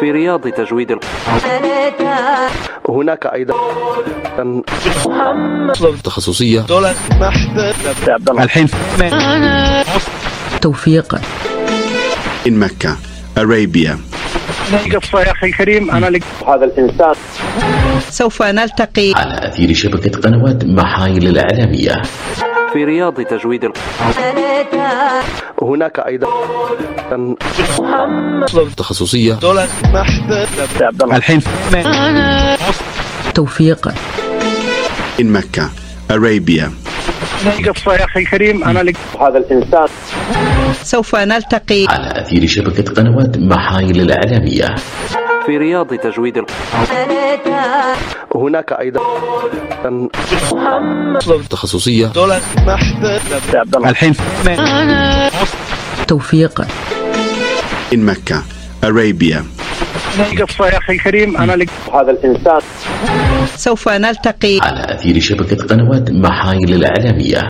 في رياض تجويد الق- هناك ايضا تخصصية توفيق in Mecca, Arabia. سوف نلتقي على أثير شبكة قنوات محايل الإعلامية في رياض تجويد الق- هناك ايضا تخصصية توفيق in Mecca, Arabia. سوف نلتقي على أثير شبكة قنوات محايل الإعلامية في رياض تجويد الق- هناك ايضا تخصصية توفيق in Mecca, Arabia. سوف نلتقي على أثير شبكة قنوات محايل الإعلامية